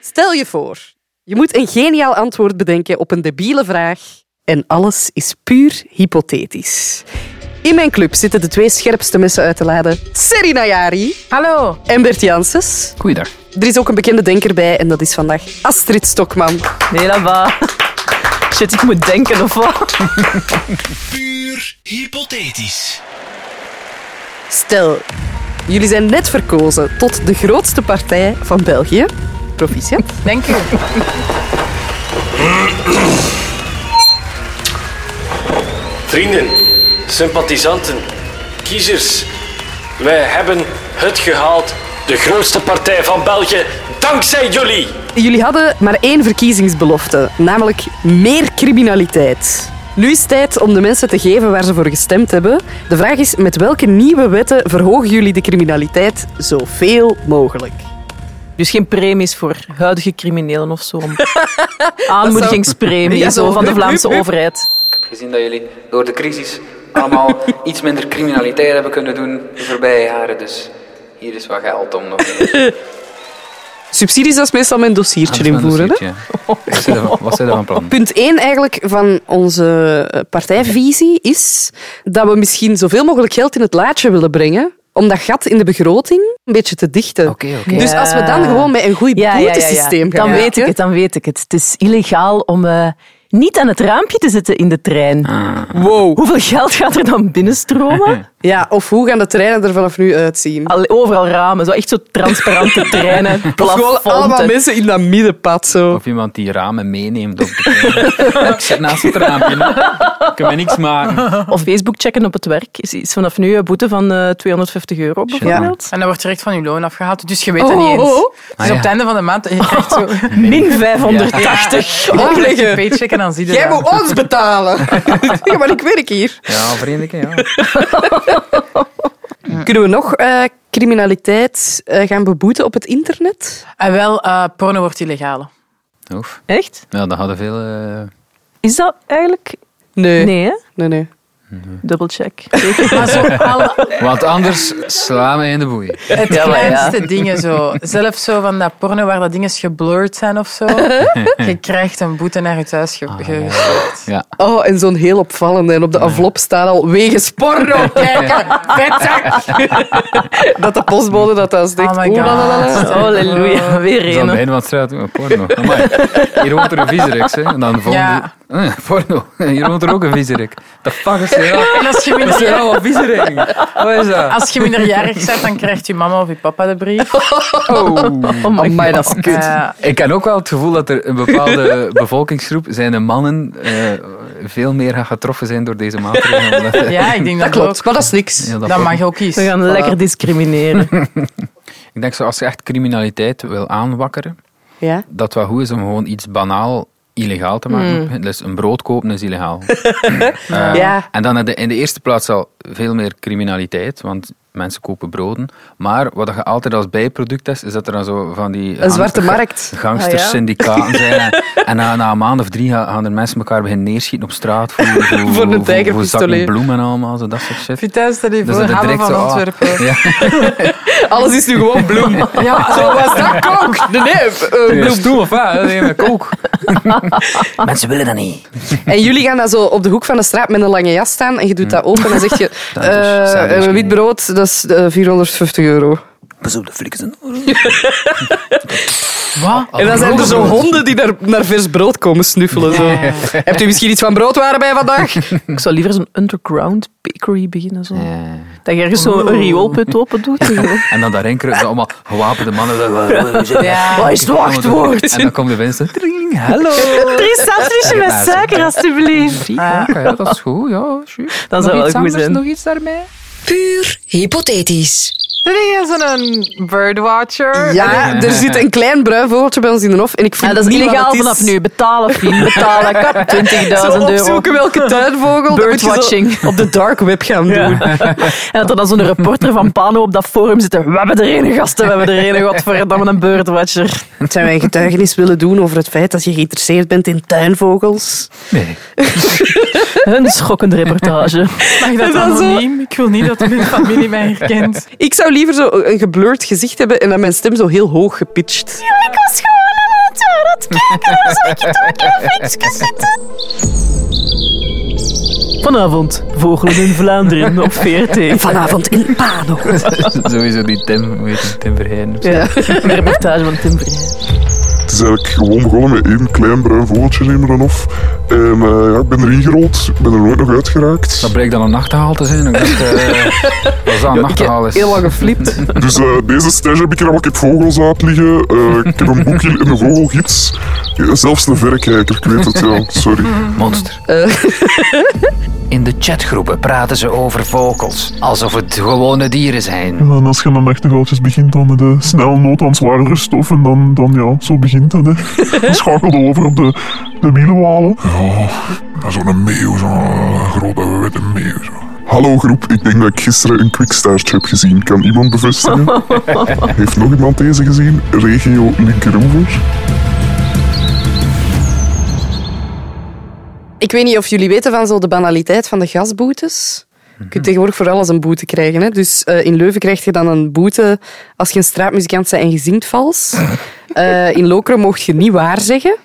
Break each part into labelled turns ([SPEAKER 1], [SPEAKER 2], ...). [SPEAKER 1] Stel je voor, je moet een geniaal antwoord bedenken op een debiele vraag en alles is puur hypothetisch. In mijn club zitten de twee scherpste mensen uit te laden. Serena Jari
[SPEAKER 2] Hallo.
[SPEAKER 1] en Bert Janssens.
[SPEAKER 3] Goeiedag.
[SPEAKER 1] Er is ook een bekende denker bij en dat is vandaag Astrid Stokman.
[SPEAKER 2] Nee, dat va. Shit, ik moet denken of wat?
[SPEAKER 4] Puur hypothetisch.
[SPEAKER 1] Stel, jullie zijn net verkozen tot de grootste partij van België. Proficiat.
[SPEAKER 2] Denk u.
[SPEAKER 5] Vrienden, sympathisanten, kiezers. Wij hebben het gehaald. De grootste partij van België. Dankzij jullie.
[SPEAKER 1] Jullie hadden maar één verkiezingsbelofte, namelijk meer criminaliteit. Nu is het tijd om de mensen te geven waar ze voor gestemd hebben. De vraag is, met welke nieuwe wetten verhogen jullie de criminaliteit zoveel mogelijk?
[SPEAKER 2] Dus geen premies voor huidige criminelen of zo. Aanmoedigingspremie
[SPEAKER 1] Ja, zo.
[SPEAKER 2] zo, van de
[SPEAKER 1] Hup, hup,
[SPEAKER 2] Vlaamse
[SPEAKER 1] hup.
[SPEAKER 2] overheid.
[SPEAKER 6] Gezien dat jullie door de crisis allemaal iets minder criminaliteit hebben kunnen doen de voorbije jaren. Dus hier is wat geld om nog meer.
[SPEAKER 1] Subsidies, dat is meestal mijn dossiertje invoeren. Hè?
[SPEAKER 3] Wat zijn dat van- wat zijn dat van plan?
[SPEAKER 1] Punt 1 eigenlijk van onze eh, partijvisie is dat we misschien zoveel mogelijk geld in het laadje willen brengen om dat gat in de begroting een beetje te dichten.
[SPEAKER 3] Oké, oké.
[SPEAKER 1] Dus als we dan gewoon met een goed boetesysteem gaan
[SPEAKER 2] Dan weet ik
[SPEAKER 1] werken-
[SPEAKER 2] het, dan weet ik het. Het is illegaal om eh, niet aan het raampje te zitten in de trein.
[SPEAKER 1] Wow.
[SPEAKER 2] Hoeveel geld gaat er dan binnenstromen?
[SPEAKER 1] Ja, of hoe gaan de treinen er vanaf nu uitzien?
[SPEAKER 2] Allee, overal ramen, zo echt zo transparante treinen.
[SPEAKER 1] Of gewoon
[SPEAKER 2] plafonten.
[SPEAKER 1] allemaal mensen in dat middenpad zo.
[SPEAKER 3] Of iemand die ramen meeneemt op de trein. Ik zit naast het raampje. hè. Kan me niks maken.
[SPEAKER 2] Of Facebook checken op het werk is, is vanaf nu een boete van eh, 250 euro bijvoorbeeld.
[SPEAKER 7] En dat wordt direct van je loon afgehaald, dus je weet
[SPEAKER 1] Oh,
[SPEAKER 7] het niet eens.
[SPEAKER 1] oh, oh.
[SPEAKER 7] Dus
[SPEAKER 3] Ah, ja.
[SPEAKER 7] op het einde van de maand je krijgt zo
[SPEAKER 2] Min 580.
[SPEAKER 7] je
[SPEAKER 1] Opleggen.
[SPEAKER 7] paycheck en dan zie je
[SPEAKER 1] Jij
[SPEAKER 7] dat.
[SPEAKER 1] moet ons betalen. ja, maar ik werk hier.
[SPEAKER 3] Ja, vriendelijke, ja.
[SPEAKER 1] Kunnen we nog eh, criminaliteit eh, gaan beboeten op het internet?
[SPEAKER 7] En wel, eh, porno wordt illegaal.
[SPEAKER 3] Oef.
[SPEAKER 2] Echt?
[SPEAKER 3] Ja, dat hadden veel... eh,
[SPEAKER 2] Is dat eigenlijk...
[SPEAKER 1] Nee.
[SPEAKER 2] Nee, hè?
[SPEAKER 1] nee, nee.
[SPEAKER 2] Dubbelcheck.
[SPEAKER 7] Maar zo al
[SPEAKER 3] Want anders slaan we in de boeien.
[SPEAKER 7] het
[SPEAKER 2] Ja, maar ja.
[SPEAKER 7] kleinste dingen zo. Zelfs zo van dat porno waar dat dingen geblurred zijn of zo. Je krijgt een boete naar je thuis ge- gestuurd.
[SPEAKER 3] Ja.
[SPEAKER 1] Oh, en zo'n heel opvallende. En op de envelop staat al wegens porno kijken. Vetzak. dat de postbode dat dan stikt.
[SPEAKER 7] Oh my
[SPEAKER 1] Oeh,
[SPEAKER 7] god.
[SPEAKER 1] la, la, la, la.
[SPEAKER 2] Halleluja, weer
[SPEAKER 3] Dus aan het
[SPEAKER 2] een.
[SPEAKER 3] einde van het straat, oh, porno. Amai. Hier woont er een viezerik, hè. En dan volgende...
[SPEAKER 7] Ja.
[SPEAKER 3] Eh, porno. Hier woont er ook een viezerik. De fuck is er dat?
[SPEAKER 7] En als je,
[SPEAKER 3] Dat zijn
[SPEAKER 7] minder,
[SPEAKER 3] allemaal viezeriken. Wat is dat?
[SPEAKER 7] als je minderjarig bent, dan krijgt je mama of je papa de brief.
[SPEAKER 3] Oh
[SPEAKER 1] Oh my, dat is kut.
[SPEAKER 7] Eh,
[SPEAKER 3] Ik heb ook wel het gevoel dat er een bepaalde bevolkingsgroep, zijn de mannen, eh, veel meer gaan getroffen zijn door deze maatregelen. Omdat, eh,
[SPEAKER 7] ja, ik denk dat,
[SPEAKER 1] Dat klopt, maar dat is niks.
[SPEAKER 3] ja,
[SPEAKER 7] ook.
[SPEAKER 3] dat
[SPEAKER 7] Dat
[SPEAKER 3] ook.
[SPEAKER 7] mag ook iets.
[SPEAKER 2] We gaan lekker discrimineren.
[SPEAKER 3] Ik denk, zo, als je echt criminaliteit wil aanwakkeren,
[SPEAKER 1] Ja.
[SPEAKER 3] dat het wel goed is om gewoon iets banaal illegaal te maken.
[SPEAKER 7] Hmm.
[SPEAKER 3] Dus een brood kopen is illegaal. Eh,
[SPEAKER 2] Ah.
[SPEAKER 1] Ja.
[SPEAKER 3] En dan in de, in de eerste plaats al veel meer criminaliteit, want mensen kopen broden. Maar wat je altijd als bijproduct is, is dat er dan zo van die... gang-
[SPEAKER 1] zwarte
[SPEAKER 3] ga-
[SPEAKER 1] markt.
[SPEAKER 2] Ah,
[SPEAKER 3] Gangstersyndicaten zijn. En, en na, na een maand of drie gaan, gaan er mensen elkaar beginnen neerschieten op straat voor, voor, voor, voor,
[SPEAKER 1] tijgerpistolet.
[SPEAKER 3] zakken bloemen en allemaal, zo, dat soort shit.
[SPEAKER 7] Vind je thuis dat die
[SPEAKER 3] Dus
[SPEAKER 7] voor
[SPEAKER 3] dat het
[SPEAKER 7] hebben
[SPEAKER 3] direct
[SPEAKER 7] van
[SPEAKER 3] zo, ah,
[SPEAKER 7] Antwerpen.
[SPEAKER 3] ja.
[SPEAKER 1] Alles is nu gewoon bloem.
[SPEAKER 7] Ja, zo was dat
[SPEAKER 1] Kook! Nee, nee. eh,
[SPEAKER 3] Ja,
[SPEAKER 1] bloem.
[SPEAKER 3] stoel of wat? Dat is met kook. Mensen willen dat niet.
[SPEAKER 1] En jullie gaan dan zo op de hoek van de straat met een lange jas staan en je doet dat open en dan zeg je...
[SPEAKER 3] Mm. Dat is- dat is
[SPEAKER 1] eh, een wit
[SPEAKER 3] misschien-
[SPEAKER 1] brood, dat is eh, 450 euro.
[SPEAKER 3] Pas op, de flikken zijn
[SPEAKER 7] Wat?
[SPEAKER 1] En dan zijn er zo
[SPEAKER 3] brood.
[SPEAKER 1] honden die naar, naar vers brood komen snuffelen. Zo. Hebt u misschien iets van broodwaren bij vandaag?
[SPEAKER 2] Ik zou liever zo'n underground bakery beginnen. Zo. Dat je ergens zo'n rioolput open doet.
[SPEAKER 3] Eh, En dan daarin kruipen ze allemaal gewapende mannen.
[SPEAKER 7] Ja.
[SPEAKER 2] Wat is het wachtwoord?
[SPEAKER 3] En dan komt de winst. Tring, hallo.
[SPEAKER 2] Drie sandwiches met suiker, alstublieft.
[SPEAKER 3] Ah, Ja, oké, dat is goed, ja. juist.
[SPEAKER 2] Dat zou
[SPEAKER 3] Nog
[SPEAKER 2] wel
[SPEAKER 3] iets
[SPEAKER 2] goed
[SPEAKER 3] anders,
[SPEAKER 2] zijn.
[SPEAKER 3] Nog iets daarmee?
[SPEAKER 8] Puur hypothetisch.
[SPEAKER 7] Zit jij zo'n birdwatcher?
[SPEAKER 1] Ja, er zit een klein bruin vogeltje bij ons in de hof. En ik vind
[SPEAKER 2] Ja, dat is
[SPEAKER 1] niet wat
[SPEAKER 2] illegaal
[SPEAKER 1] het
[SPEAKER 2] vanaf nu. Betalen, vriend. Betalen. Kap 20.000
[SPEAKER 1] Zo
[SPEAKER 2] euro.
[SPEAKER 1] opzoeken welke tuinvogel. dat moet je zo
[SPEAKER 2] Birdwatching.
[SPEAKER 1] Op de dark web gaan doen.
[SPEAKER 2] En dat er dan zo'n reporter van Pano op dat forum zit. en, We hebben er een gasten, we hebben er een godverdamme een birdwatcher.
[SPEAKER 1] Zijn wij getuigenis willen doen over het feit dat je geïnteresseerd bent in tuinvogels?
[SPEAKER 3] Nee.
[SPEAKER 2] Een schokkende reportage.
[SPEAKER 7] Mag
[SPEAKER 1] En
[SPEAKER 7] dat
[SPEAKER 1] dan zo-
[SPEAKER 7] anoniem? Ik wil niet dat mijn familie mij herkent.
[SPEAKER 1] Ik zou liever zo een geblurred gezicht hebben en dan mijn stem zo heel hoog gepitcht.
[SPEAKER 9] Ik was gewoon aan het aan het kijken, dan zag ik het ook heel fijn zitten.
[SPEAKER 2] Vanavond, Vogelen in Vlaanderen op VRT.
[SPEAKER 1] Vanavond in Pano.
[SPEAKER 3] Sowieso die Tim, hoe heet die, Tim Verheyen.
[SPEAKER 2] Ja, een reportage van Tim Verheyen.
[SPEAKER 10] Het is eigenlijk gewoon begonnen met één klein bruin vogeltje, neem maar dan of. En eh, ja, ik ben erin gerold, ik ben er nooit nog uitgeraakt.
[SPEAKER 3] Dat blijkt dan een nachtehaal te zijn. Ik dacht, eh, als dat een nachtehaal is.
[SPEAKER 1] Heel lang geflipt.
[SPEAKER 10] Dus eh, deze stage heb ik er al. Ik heb vogels uit liggen. eh, ik heb een boekje en een vogelgids. Ja, zelfs een verrekijker, ik weet het ja. Sorry.
[SPEAKER 3] Monster.
[SPEAKER 6] In de chatgroepen praten ze over vogels, alsof het gewone dieren zijn.
[SPEAKER 10] En als je dan achterveldjes begint dan met de snelle nood aan zwaardere stoffen, dan, dan ja, zo begint dat. Hè. Dan schakelde over op de, de wielenwalen. Ja, zo'n meeuw, zo'n grote witte meeuw. Hallo groep, ik denk dat ik gisteren een quickstaartje heb gezien. Kan iemand bevestigen? Heeft nog iemand deze gezien? Regio Linkeroever?
[SPEAKER 1] Ik weet niet of jullie weten van zo de banaliteit van de gasboetes. Je kunt tegenwoordig voor alles een boete krijgen. Hè? Dus eh, in Leuven krijg je dan een boete als je een straatmuzikant bent en je zingt vals. Eh, in Lokeren mocht je niet waar zeggen.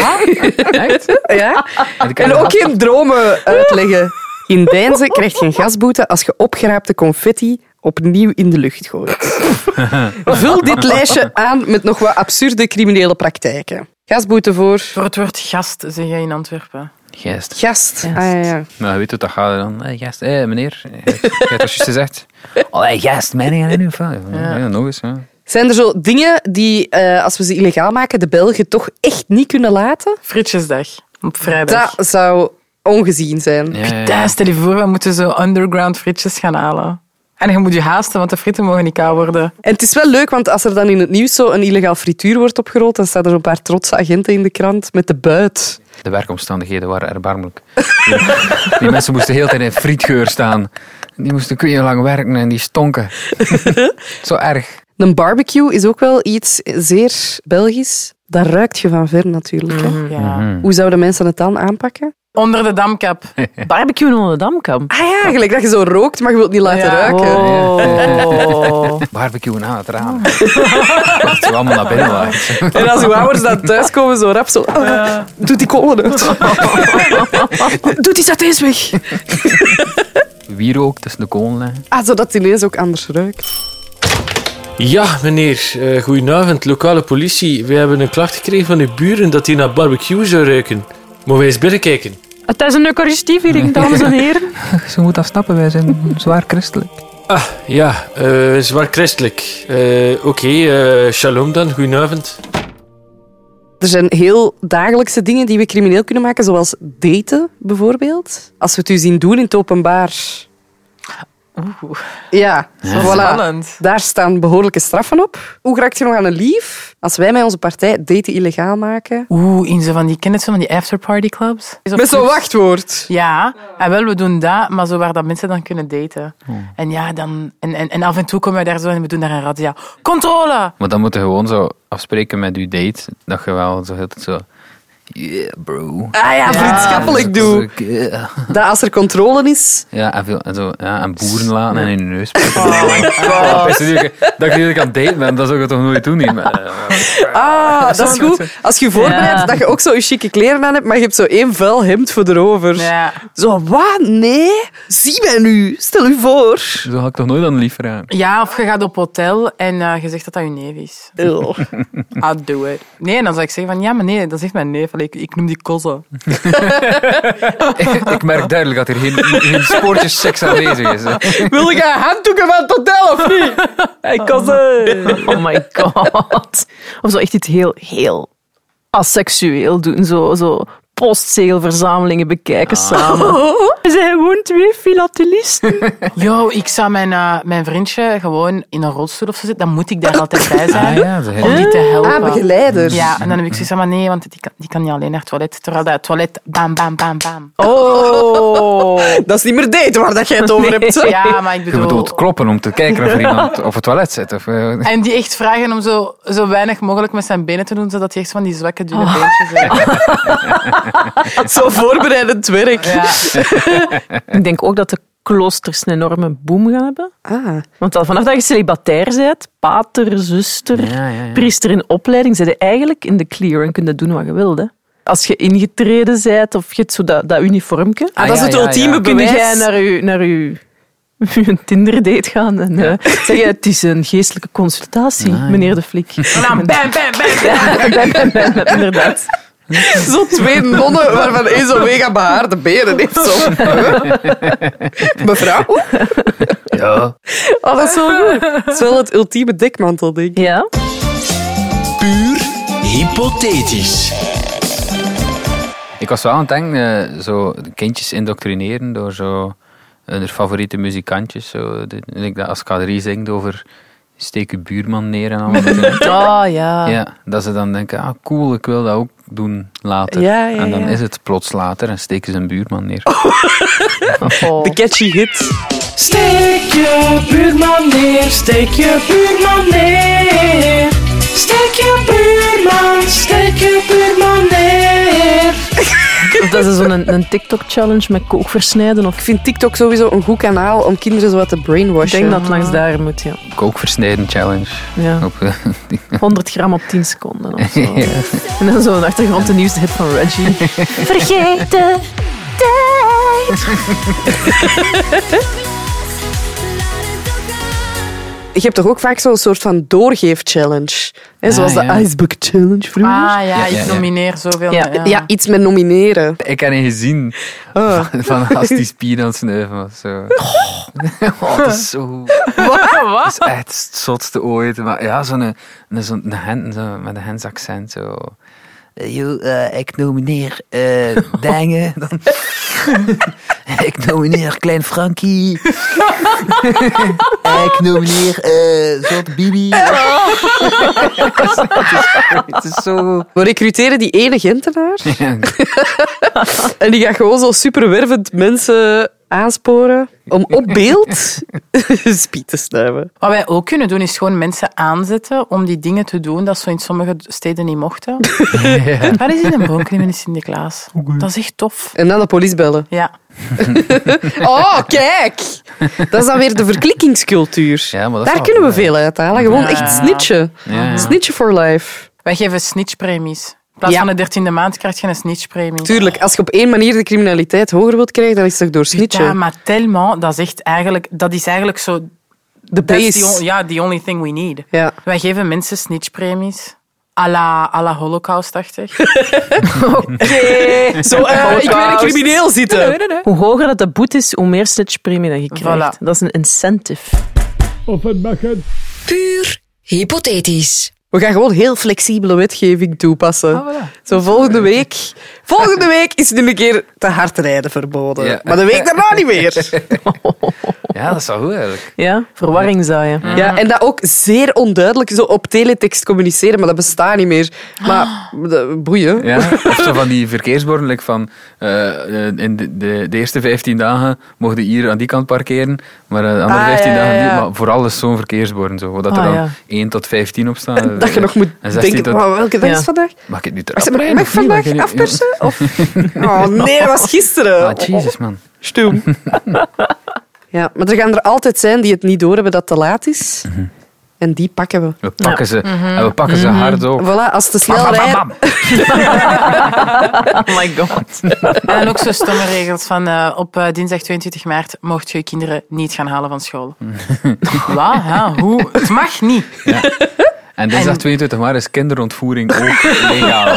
[SPEAKER 1] Ja? En ook geen dromen uitleggen. In Deinzen krijg je een gasboete als je opgeraapte confetti opnieuw in de lucht gooit. Vul dit lijstje aan met nog wat absurde criminele praktijken. Gasboete voor
[SPEAKER 7] Voor het woord gast, zeg jij in Antwerpen.
[SPEAKER 3] Gest.
[SPEAKER 1] gast. Ah, ja, ja.
[SPEAKER 3] Nou, je weet hoe dat gaat dan. Hey, gest. Hé, meneer. eh, Je hebt je hebt dat juist gezegd. Oh,
[SPEAKER 6] eh,
[SPEAKER 3] hey, gest. Mijn eigen nu. Ja, ja, nog eens. Ja.
[SPEAKER 1] Zijn er zo dingen die, eh, als we ze illegaal maken, de Belgen toch echt niet kunnen laten?
[SPEAKER 7] Frietjesdag, op vrijdag.
[SPEAKER 1] Dat zou ongezien zijn.
[SPEAKER 3] Ja, ja, ja.
[SPEAKER 7] Daar, stel je voor, we moeten zo underground frietjes gaan halen. En je moet je haasten, want de frieten mogen niet koud worden.
[SPEAKER 1] En het is wel leuk, want als er dan in het nieuws zo een illegaal frituur wordt opgerold, dan staan er een paar trotse agenten in de krant met de buit.
[SPEAKER 3] De werkomstandigheden waren erbarmelijk. Die, die mensen moesten heel de tijd in frietgeur staan. Die moesten lang werken en die stonken. Zo erg.
[SPEAKER 1] Een barbecue is ook wel iets zeer Belgisch. Daar ruikt je van ver natuurlijk. hè.
[SPEAKER 7] Ja.
[SPEAKER 1] Hoe zouden mensen het dan aanpakken?
[SPEAKER 7] Onder de damkap.
[SPEAKER 2] Barbecue onder de Damkamp.
[SPEAKER 1] Ah ja, gelijk dat je zo rookt, maar je wilt het niet laten ruiken.
[SPEAKER 2] Oh.
[SPEAKER 3] Barbecue aan het raam. Dat ze allemaal naar binnen waren.
[SPEAKER 1] En als uw ouders dan thuiskomen, zo rap zo... "Ah, Doe die kolen uit. Doe die satés weg.
[SPEAKER 3] Wierook tussen de kolen leggen.
[SPEAKER 1] Ah, zodat het ineens ook anders ruikt.
[SPEAKER 4] Ja, meneer. eh goedenavond, lokale politie. We hebben een klacht gekregen van uw buren dat hij naar barbecue zou ruiken. Moeten wij eens binnenkijken?
[SPEAKER 2] Het is een eucharistieviering, dames en heren.
[SPEAKER 3] Ze moet dat snappen, wij zijn zwaar christelijk.
[SPEAKER 4] Ah, ja, eh zwaar christelijk. Eh, Oké, eh, shalom dan, goedenavond.
[SPEAKER 1] Er zijn heel dagelijkse dingen die we crimineel kunnen maken, zoals daten bijvoorbeeld. Als we het u zien doen in het openbaar. Ja, voilà.
[SPEAKER 7] Spannend.
[SPEAKER 1] Daar staan behoorlijke straffen op. Hoe raakt je nog aan een lief? Als wij met onze partij daten illegaal maken.
[SPEAKER 7] Oeh, in zo van die, ken je het zo van die afterparty clubs?
[SPEAKER 1] Met zo'n wachtwoord.
[SPEAKER 7] Ja, en wel, we doen dat, maar zo waar dat mensen dan kunnen daten. En ja, dan, en, en, en af en toe komen we daar zo en we doen daar een razzia. Controle!
[SPEAKER 3] Maar dan moet je gewoon zo afspreken met je date. Dat je wel zo heel de tijd zo... Yeah, bro.
[SPEAKER 1] Ah ja, vriendschappelijk doe.
[SPEAKER 3] Ja.
[SPEAKER 1] Dat als er controle is.
[SPEAKER 3] eh, Ja, en, veel, en, zo, ja, en boeren laten en in hun neus. Dat, is natuurlijk- dat ik natuurlijk aan het daten ben, dat zou ik toch nooit doen. Niet. Maar, eh,
[SPEAKER 1] Ah, dat is goed. Als je je voorbereidt,
[SPEAKER 2] Ja.
[SPEAKER 1] dat je ook zo je chique kleren aan hebt, maar je hebt zo één vuil hemd voor erover.
[SPEAKER 7] Ja.
[SPEAKER 1] Zo, wat? Nee? Zie mij nu. Stel u voor.
[SPEAKER 3] Zo had ik toch nooit aan lief vragen.
[SPEAKER 7] Ja, of je gaat op hotel en eh, je zegt dat dat je neef is.
[SPEAKER 1] Ew.
[SPEAKER 7] I'll do it. Nee, dan zou ik zeggen van, ja, maar nee, dat zegt mijn neef. Allee, ik, ik noem die kozen.
[SPEAKER 3] ik merk duidelijk dat er geen, geen spoortje seks aanwezig is. hè.
[SPEAKER 1] Wil je handdoeken van het hotel of niet?
[SPEAKER 2] Ik kan Oh my god. Of zo echt iets heel, heel asexueel doen. Zo, zo postzegelverzamelingen bekijken samen. We zijn gewoon twee filatelisten.
[SPEAKER 7] Yo, ik zou mijn, eh, mijn vriendje gewoon in een rolstoel of zo zitten. Dan moet ik daar altijd bij zijn.
[SPEAKER 3] Ah ja, dat is-
[SPEAKER 7] Om die te helpen.
[SPEAKER 1] Ah, begeleiders.
[SPEAKER 7] Ja, en dan heb ik zoiets van, maar nee, want die kan, die kan niet alleen naar het toilet. Terwijl dat toilet, bam, bam, bam, bam.
[SPEAKER 2] Oh.
[SPEAKER 1] Dat is niet meer date waar dat jij het over hebt. hè?
[SPEAKER 7] Ja, maar ik
[SPEAKER 3] Je
[SPEAKER 7] bedoel...
[SPEAKER 3] bedoelt kloppen om te kijken of er iemand op het toilet zit. Of, eh,
[SPEAKER 7] En die echt vragen om zo, zo weinig mogelijk met zijn benen te doen, zodat hij echt van die zwakke, dunne
[SPEAKER 1] Oh.
[SPEAKER 7] beentjes heeft.
[SPEAKER 1] Zo voorbereidend werk.
[SPEAKER 7] Ja. Ah,
[SPEAKER 2] Ik denk ook dat de kloosters een enorme boom gaan hebben.
[SPEAKER 1] Ah.
[SPEAKER 2] Want al vanaf dat je celibatair bent, pater, zuster,
[SPEAKER 3] Ja, ja, ja.
[SPEAKER 2] priester in opleiding, zit je eigenlijk in de clear en kun je doen wat je wilt. Hè. Als je ingetreden bent of je hebt zo dat, dat uniformke,
[SPEAKER 1] Ah, dat is
[SPEAKER 3] ja,
[SPEAKER 1] het
[SPEAKER 3] ja, ja.
[SPEAKER 1] ultieme
[SPEAKER 2] kun
[SPEAKER 1] bewijs.
[SPEAKER 2] jij naar je, naar je, je Tinder-date gaan en eh, zeggen, het is een geestelijke consultatie, meneer de Flik.
[SPEAKER 7] Ah, En dan bam, bam, bam.
[SPEAKER 2] Inderdaad.
[SPEAKER 1] Zo twee nonnen waarvan één zo mega behaarde benen heeft. Zo. Mevrouw?
[SPEAKER 3] ja.
[SPEAKER 1] Oh, dat is zo goed. Het is wel het ultieme dekmantel, denk ik.
[SPEAKER 2] Ja.
[SPEAKER 11] Puur hypothetisch.
[SPEAKER 3] Ik was wel aan het denken, eh, zo de kindjes indoctrineren door zo eh, hun favoriete muzikantjes. Zo, dit, ik denk dat als K3 zingt over steek je buurman neer en allemaal. dat dingen.
[SPEAKER 2] Oh ja.
[SPEAKER 3] ja, dat ze dan denken, ah cool, ik wil dat ook doen later.
[SPEAKER 1] Ja, ja,
[SPEAKER 3] en dan
[SPEAKER 1] ja.
[SPEAKER 3] is het plots later en steken ze een buurman neer.
[SPEAKER 2] Oh.
[SPEAKER 1] De catchy hit.
[SPEAKER 9] Steek je buurman neer, steek je buurman neer. Steek je buurman, steek je buurman neer.
[SPEAKER 2] Of dat is dus zo'n een, TikTok-challenge met kook versnijden. Of...
[SPEAKER 1] Ik vind TikTok sowieso een goed kanaal om kinderen zo wat te
[SPEAKER 2] Ik
[SPEAKER 1] brainwashen.
[SPEAKER 2] denk dat het langs daar moet, ja.
[SPEAKER 3] Kookversnijden challenge.
[SPEAKER 2] ja.
[SPEAKER 3] Op, eh,
[SPEAKER 2] 100 gram op 10 seconden of zo. En dan zo'n achtergrond de nieuwste hit van Reggie.
[SPEAKER 9] Vergeet de tijd.
[SPEAKER 1] Je hebt toch ook vaak zo'n soort van doorgeef-challenge? Hè,
[SPEAKER 3] Ah,
[SPEAKER 1] zoals
[SPEAKER 3] ja.
[SPEAKER 1] de Icebucket-challenge vroeger.
[SPEAKER 7] Ah ja,
[SPEAKER 3] ja,
[SPEAKER 7] ik
[SPEAKER 3] ja.
[SPEAKER 7] nomineer zoveel.
[SPEAKER 2] Ja,
[SPEAKER 1] ja. iets met nomineren.
[SPEAKER 3] ik heb niet gezien
[SPEAKER 1] Ah.
[SPEAKER 3] van, van als die spier aan het snuiven was. Zo. Oh, dat is zo goed. Dat is echt het zotste ooit. Maar ja, zo'n een, zo'n een hen, zo, met een Hens accent. Zo. Eh, yo, eh, ik nomineer eh Dingen. Dan- ik nomineer Klein Frankie. ik nomineer eh Zot Bibi. het is zo...
[SPEAKER 1] We recruteren die ene Gentenaar
[SPEAKER 3] Ja,
[SPEAKER 1] en die gaat gewoon zo superwervend mensen aansporen om op beeld spiet te snuiven.
[SPEAKER 7] Wat wij ook kunnen doen, is gewoon mensen aanzetten om die dingen te doen dat ze in sommige steden niet mochten. Waar is in een boomklim in Sinterklaas? Dat is echt tof.
[SPEAKER 1] En dan de politie bellen.
[SPEAKER 7] Ja.
[SPEAKER 1] Oh, kijk! Dat is dan weer de verklikkingscultuur.
[SPEAKER 3] Ja, maar dat is
[SPEAKER 1] daar
[SPEAKER 3] wel-
[SPEAKER 1] kunnen we veel uit halen. Gewoon
[SPEAKER 7] Ja.
[SPEAKER 1] echt snitchen.
[SPEAKER 3] ja.
[SPEAKER 1] Snitchen for life.
[SPEAKER 7] Wij geven snitchpremies. In plaats
[SPEAKER 1] Ja.
[SPEAKER 7] van de dertiende maand krijg je een snitchpremie.
[SPEAKER 1] Tuurlijk, als je op één manier de criminaliteit hoger wilt krijgen, dan is het toch door
[SPEAKER 7] Ja,
[SPEAKER 1] snitchen.
[SPEAKER 7] maar tellement, dat is echt eigenlijk, dat is eigenlijk zo...
[SPEAKER 1] De
[SPEAKER 7] that's the on-
[SPEAKER 1] base.
[SPEAKER 7] Ja, the only thing we need.
[SPEAKER 1] Ja.
[SPEAKER 7] Wij geven mensen snitchpremies. À la, à la holocaust-achtig.
[SPEAKER 1] Zo, eh, ik weet een crimineel zitten.
[SPEAKER 2] Hoe hoger dat de boete is, hoe meer snitchpremie dat je krijgt.
[SPEAKER 7] Voilà.
[SPEAKER 2] Dat is een incentive.
[SPEAKER 8] Puur hypothetisch.
[SPEAKER 1] We gaan gewoon heel flexibele wetgeving toepassen. Zo volgende week. Volgende week is nu een keer te hard rijden verboden.
[SPEAKER 3] Ja.
[SPEAKER 1] Maar de week daarna niet meer.
[SPEAKER 3] ja, dat is wel goed eigenlijk.
[SPEAKER 2] Ja? Verwarring zaaien.
[SPEAKER 1] Ja, en dat ook zeer onduidelijk zo op teletext communiceren, maar dat bestaat niet meer. Maar de- boeien.
[SPEAKER 3] Ja, of zo van die verkeersborden, like van eh, eh, in de, de, de eerste 15 dagen mocht je hier aan die kant parkeren, maar eh, de andere
[SPEAKER 1] Ah,
[SPEAKER 3] 15
[SPEAKER 1] ja, ja,
[SPEAKER 3] dagen niet.
[SPEAKER 1] ja.
[SPEAKER 3] Maar vooral is zo'n verkeersborden, zo, dat
[SPEAKER 2] Ah,
[SPEAKER 3] er dan
[SPEAKER 2] ja.
[SPEAKER 3] 1 tot 15 op staan. eh,
[SPEAKER 1] Dat je nog moet
[SPEAKER 3] en 16
[SPEAKER 1] denken,
[SPEAKER 3] tot-
[SPEAKER 1] "Wauw, welke dag
[SPEAKER 2] Ja.
[SPEAKER 1] is vandaag?
[SPEAKER 3] Mag ik het nu
[SPEAKER 1] Mag
[SPEAKER 3] terug?
[SPEAKER 1] ze me weg vandaag afpersen? Of... Oh nee, dat was gisteren.
[SPEAKER 3] Ah, jezus man.
[SPEAKER 1] Stoem. Ja, maar er gaan er altijd zijn die het niet doorhebben dat het te laat is.
[SPEAKER 3] Mhm.
[SPEAKER 1] En die pakken we.
[SPEAKER 3] We pakken ze,
[SPEAKER 1] Mhm.
[SPEAKER 3] en we pakken ze hard op.
[SPEAKER 1] Voilà, als te snel
[SPEAKER 3] Bam, bam,
[SPEAKER 1] rijden...
[SPEAKER 3] bam.
[SPEAKER 2] Oh my god.
[SPEAKER 7] En dan ook zo stomme regels van eh, op eh, dinsdag 22 maart mocht je je kinderen niet gaan halen van school. Wat? hè? Hoe? Het mag niet.
[SPEAKER 3] Ja. En dinsdag 22 maart is kinderontvoering ook legaal.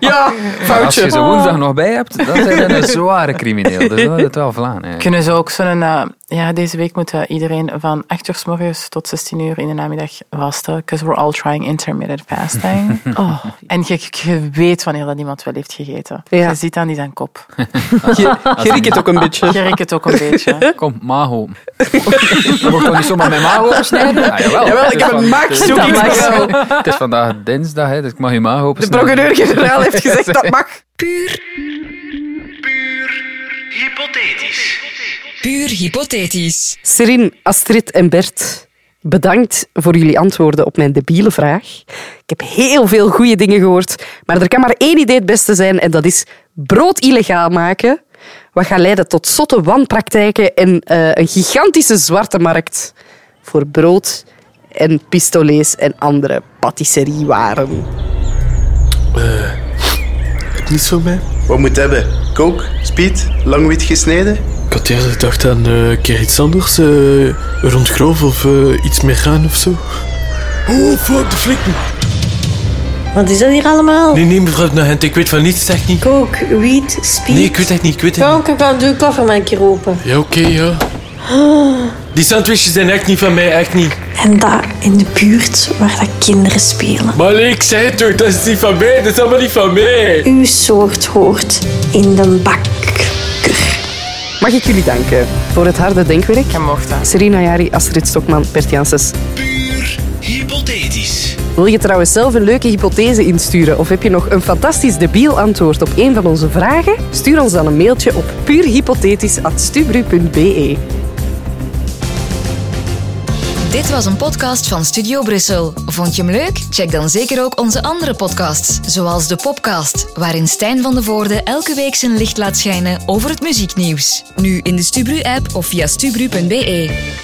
[SPEAKER 1] ja,
[SPEAKER 3] Maar oh, Als je
[SPEAKER 7] foutje.
[SPEAKER 3] ze woensdag nog bij hebt, dan zijn ze een zware crimineel. Dus dat is het wel vlaan. hè.
[SPEAKER 7] Kunnen ze ook zo'n... eh, ja, deze week moet eh, iedereen van 8 uur s morgens tot 16 uur in de namiddag vasten. Because we're all trying intermittent fasting. oh. En je, je weet wanneer dat iemand wel heeft gegeten.
[SPEAKER 1] Ja.
[SPEAKER 7] Je ziet aan die zijn kop.
[SPEAKER 1] Je riekt het ook een beetje.
[SPEAKER 7] Je riekt het ook een beetje.
[SPEAKER 3] Kom, mago. Je moet toch niet zomaar mijn mago opsnijden? Ja, jawel.
[SPEAKER 1] Jawel, ik heb een
[SPEAKER 3] Het is
[SPEAKER 1] maagstoeking.
[SPEAKER 3] vandaag- Het is vandaag dinsdag, hè, dus ik mag je mago
[SPEAKER 1] De
[SPEAKER 3] opsnijden.
[SPEAKER 1] procureur-generaal heeft gezegd dat mag.
[SPEAKER 11] Hypothetisch.
[SPEAKER 8] Puur hypothetisch.
[SPEAKER 1] Serin, Astrid en Bert, bedankt voor jullie antwoorden op mijn debiele vraag. Ik heb heel veel goede dingen gehoord, maar er kan maar één idee het beste zijn en dat is brood illegaal maken. Wat gaat leiden tot zotte wanpraktijken en eh, een gigantische zwarte markt voor brood en pistolets en andere patisseriewaren.
[SPEAKER 12] Niet zo mee. Wat moet het hebben? Kook, speed, langwit gesneden?
[SPEAKER 4] Ik had eerder gedacht aan eh, een keer iets anders. eh, rond groof of eh, iets meer gaan of zo. Oh, fuck, de flikken.
[SPEAKER 13] Wat is dat hier allemaal?
[SPEAKER 4] Nee, nee, mevrouw de Nagent, ik weet van niets, echt niet.
[SPEAKER 13] Kook, wiet, Oh. speed.
[SPEAKER 4] Nee, ik weet echt niet, ik weet echt
[SPEAKER 13] Kom, kom, kom, doe koffer maar een keer open.
[SPEAKER 4] niet. Ja, oké, ja.
[SPEAKER 13] Oh.
[SPEAKER 4] Die sandwiches zijn echt niet van mij, echt niet.
[SPEAKER 13] En dat in de buurt waar dat kinderen spelen.
[SPEAKER 4] Maar nee, ik zei het toch, dat is niet van mij, dat is allemaal niet van mij.
[SPEAKER 13] Uw soort hoort in de bak.
[SPEAKER 1] Mag ik jullie danken voor het harde denkwerk? Je mocht dat. Serena Jari, Astrid Stokman, Bert Janssens.
[SPEAKER 11] Hypothetisch.
[SPEAKER 1] Wil je trouwens zelf een leuke hypothese insturen of heb je nog een fantastisch debiel antwoord op een van onze vragen? Stuur ons dan een mailtje op puurhypothetisch.stubru.be.
[SPEAKER 8] Dit was een podcast van Studio Brussel. Vond je hem leuk? Check dan zeker ook onze andere podcasts, zoals de Popcast, waarin Stijn van de Voorde elke week zijn licht laat schijnen over het muzieknieuws. Nu in de Stubru-app of via stubru.be.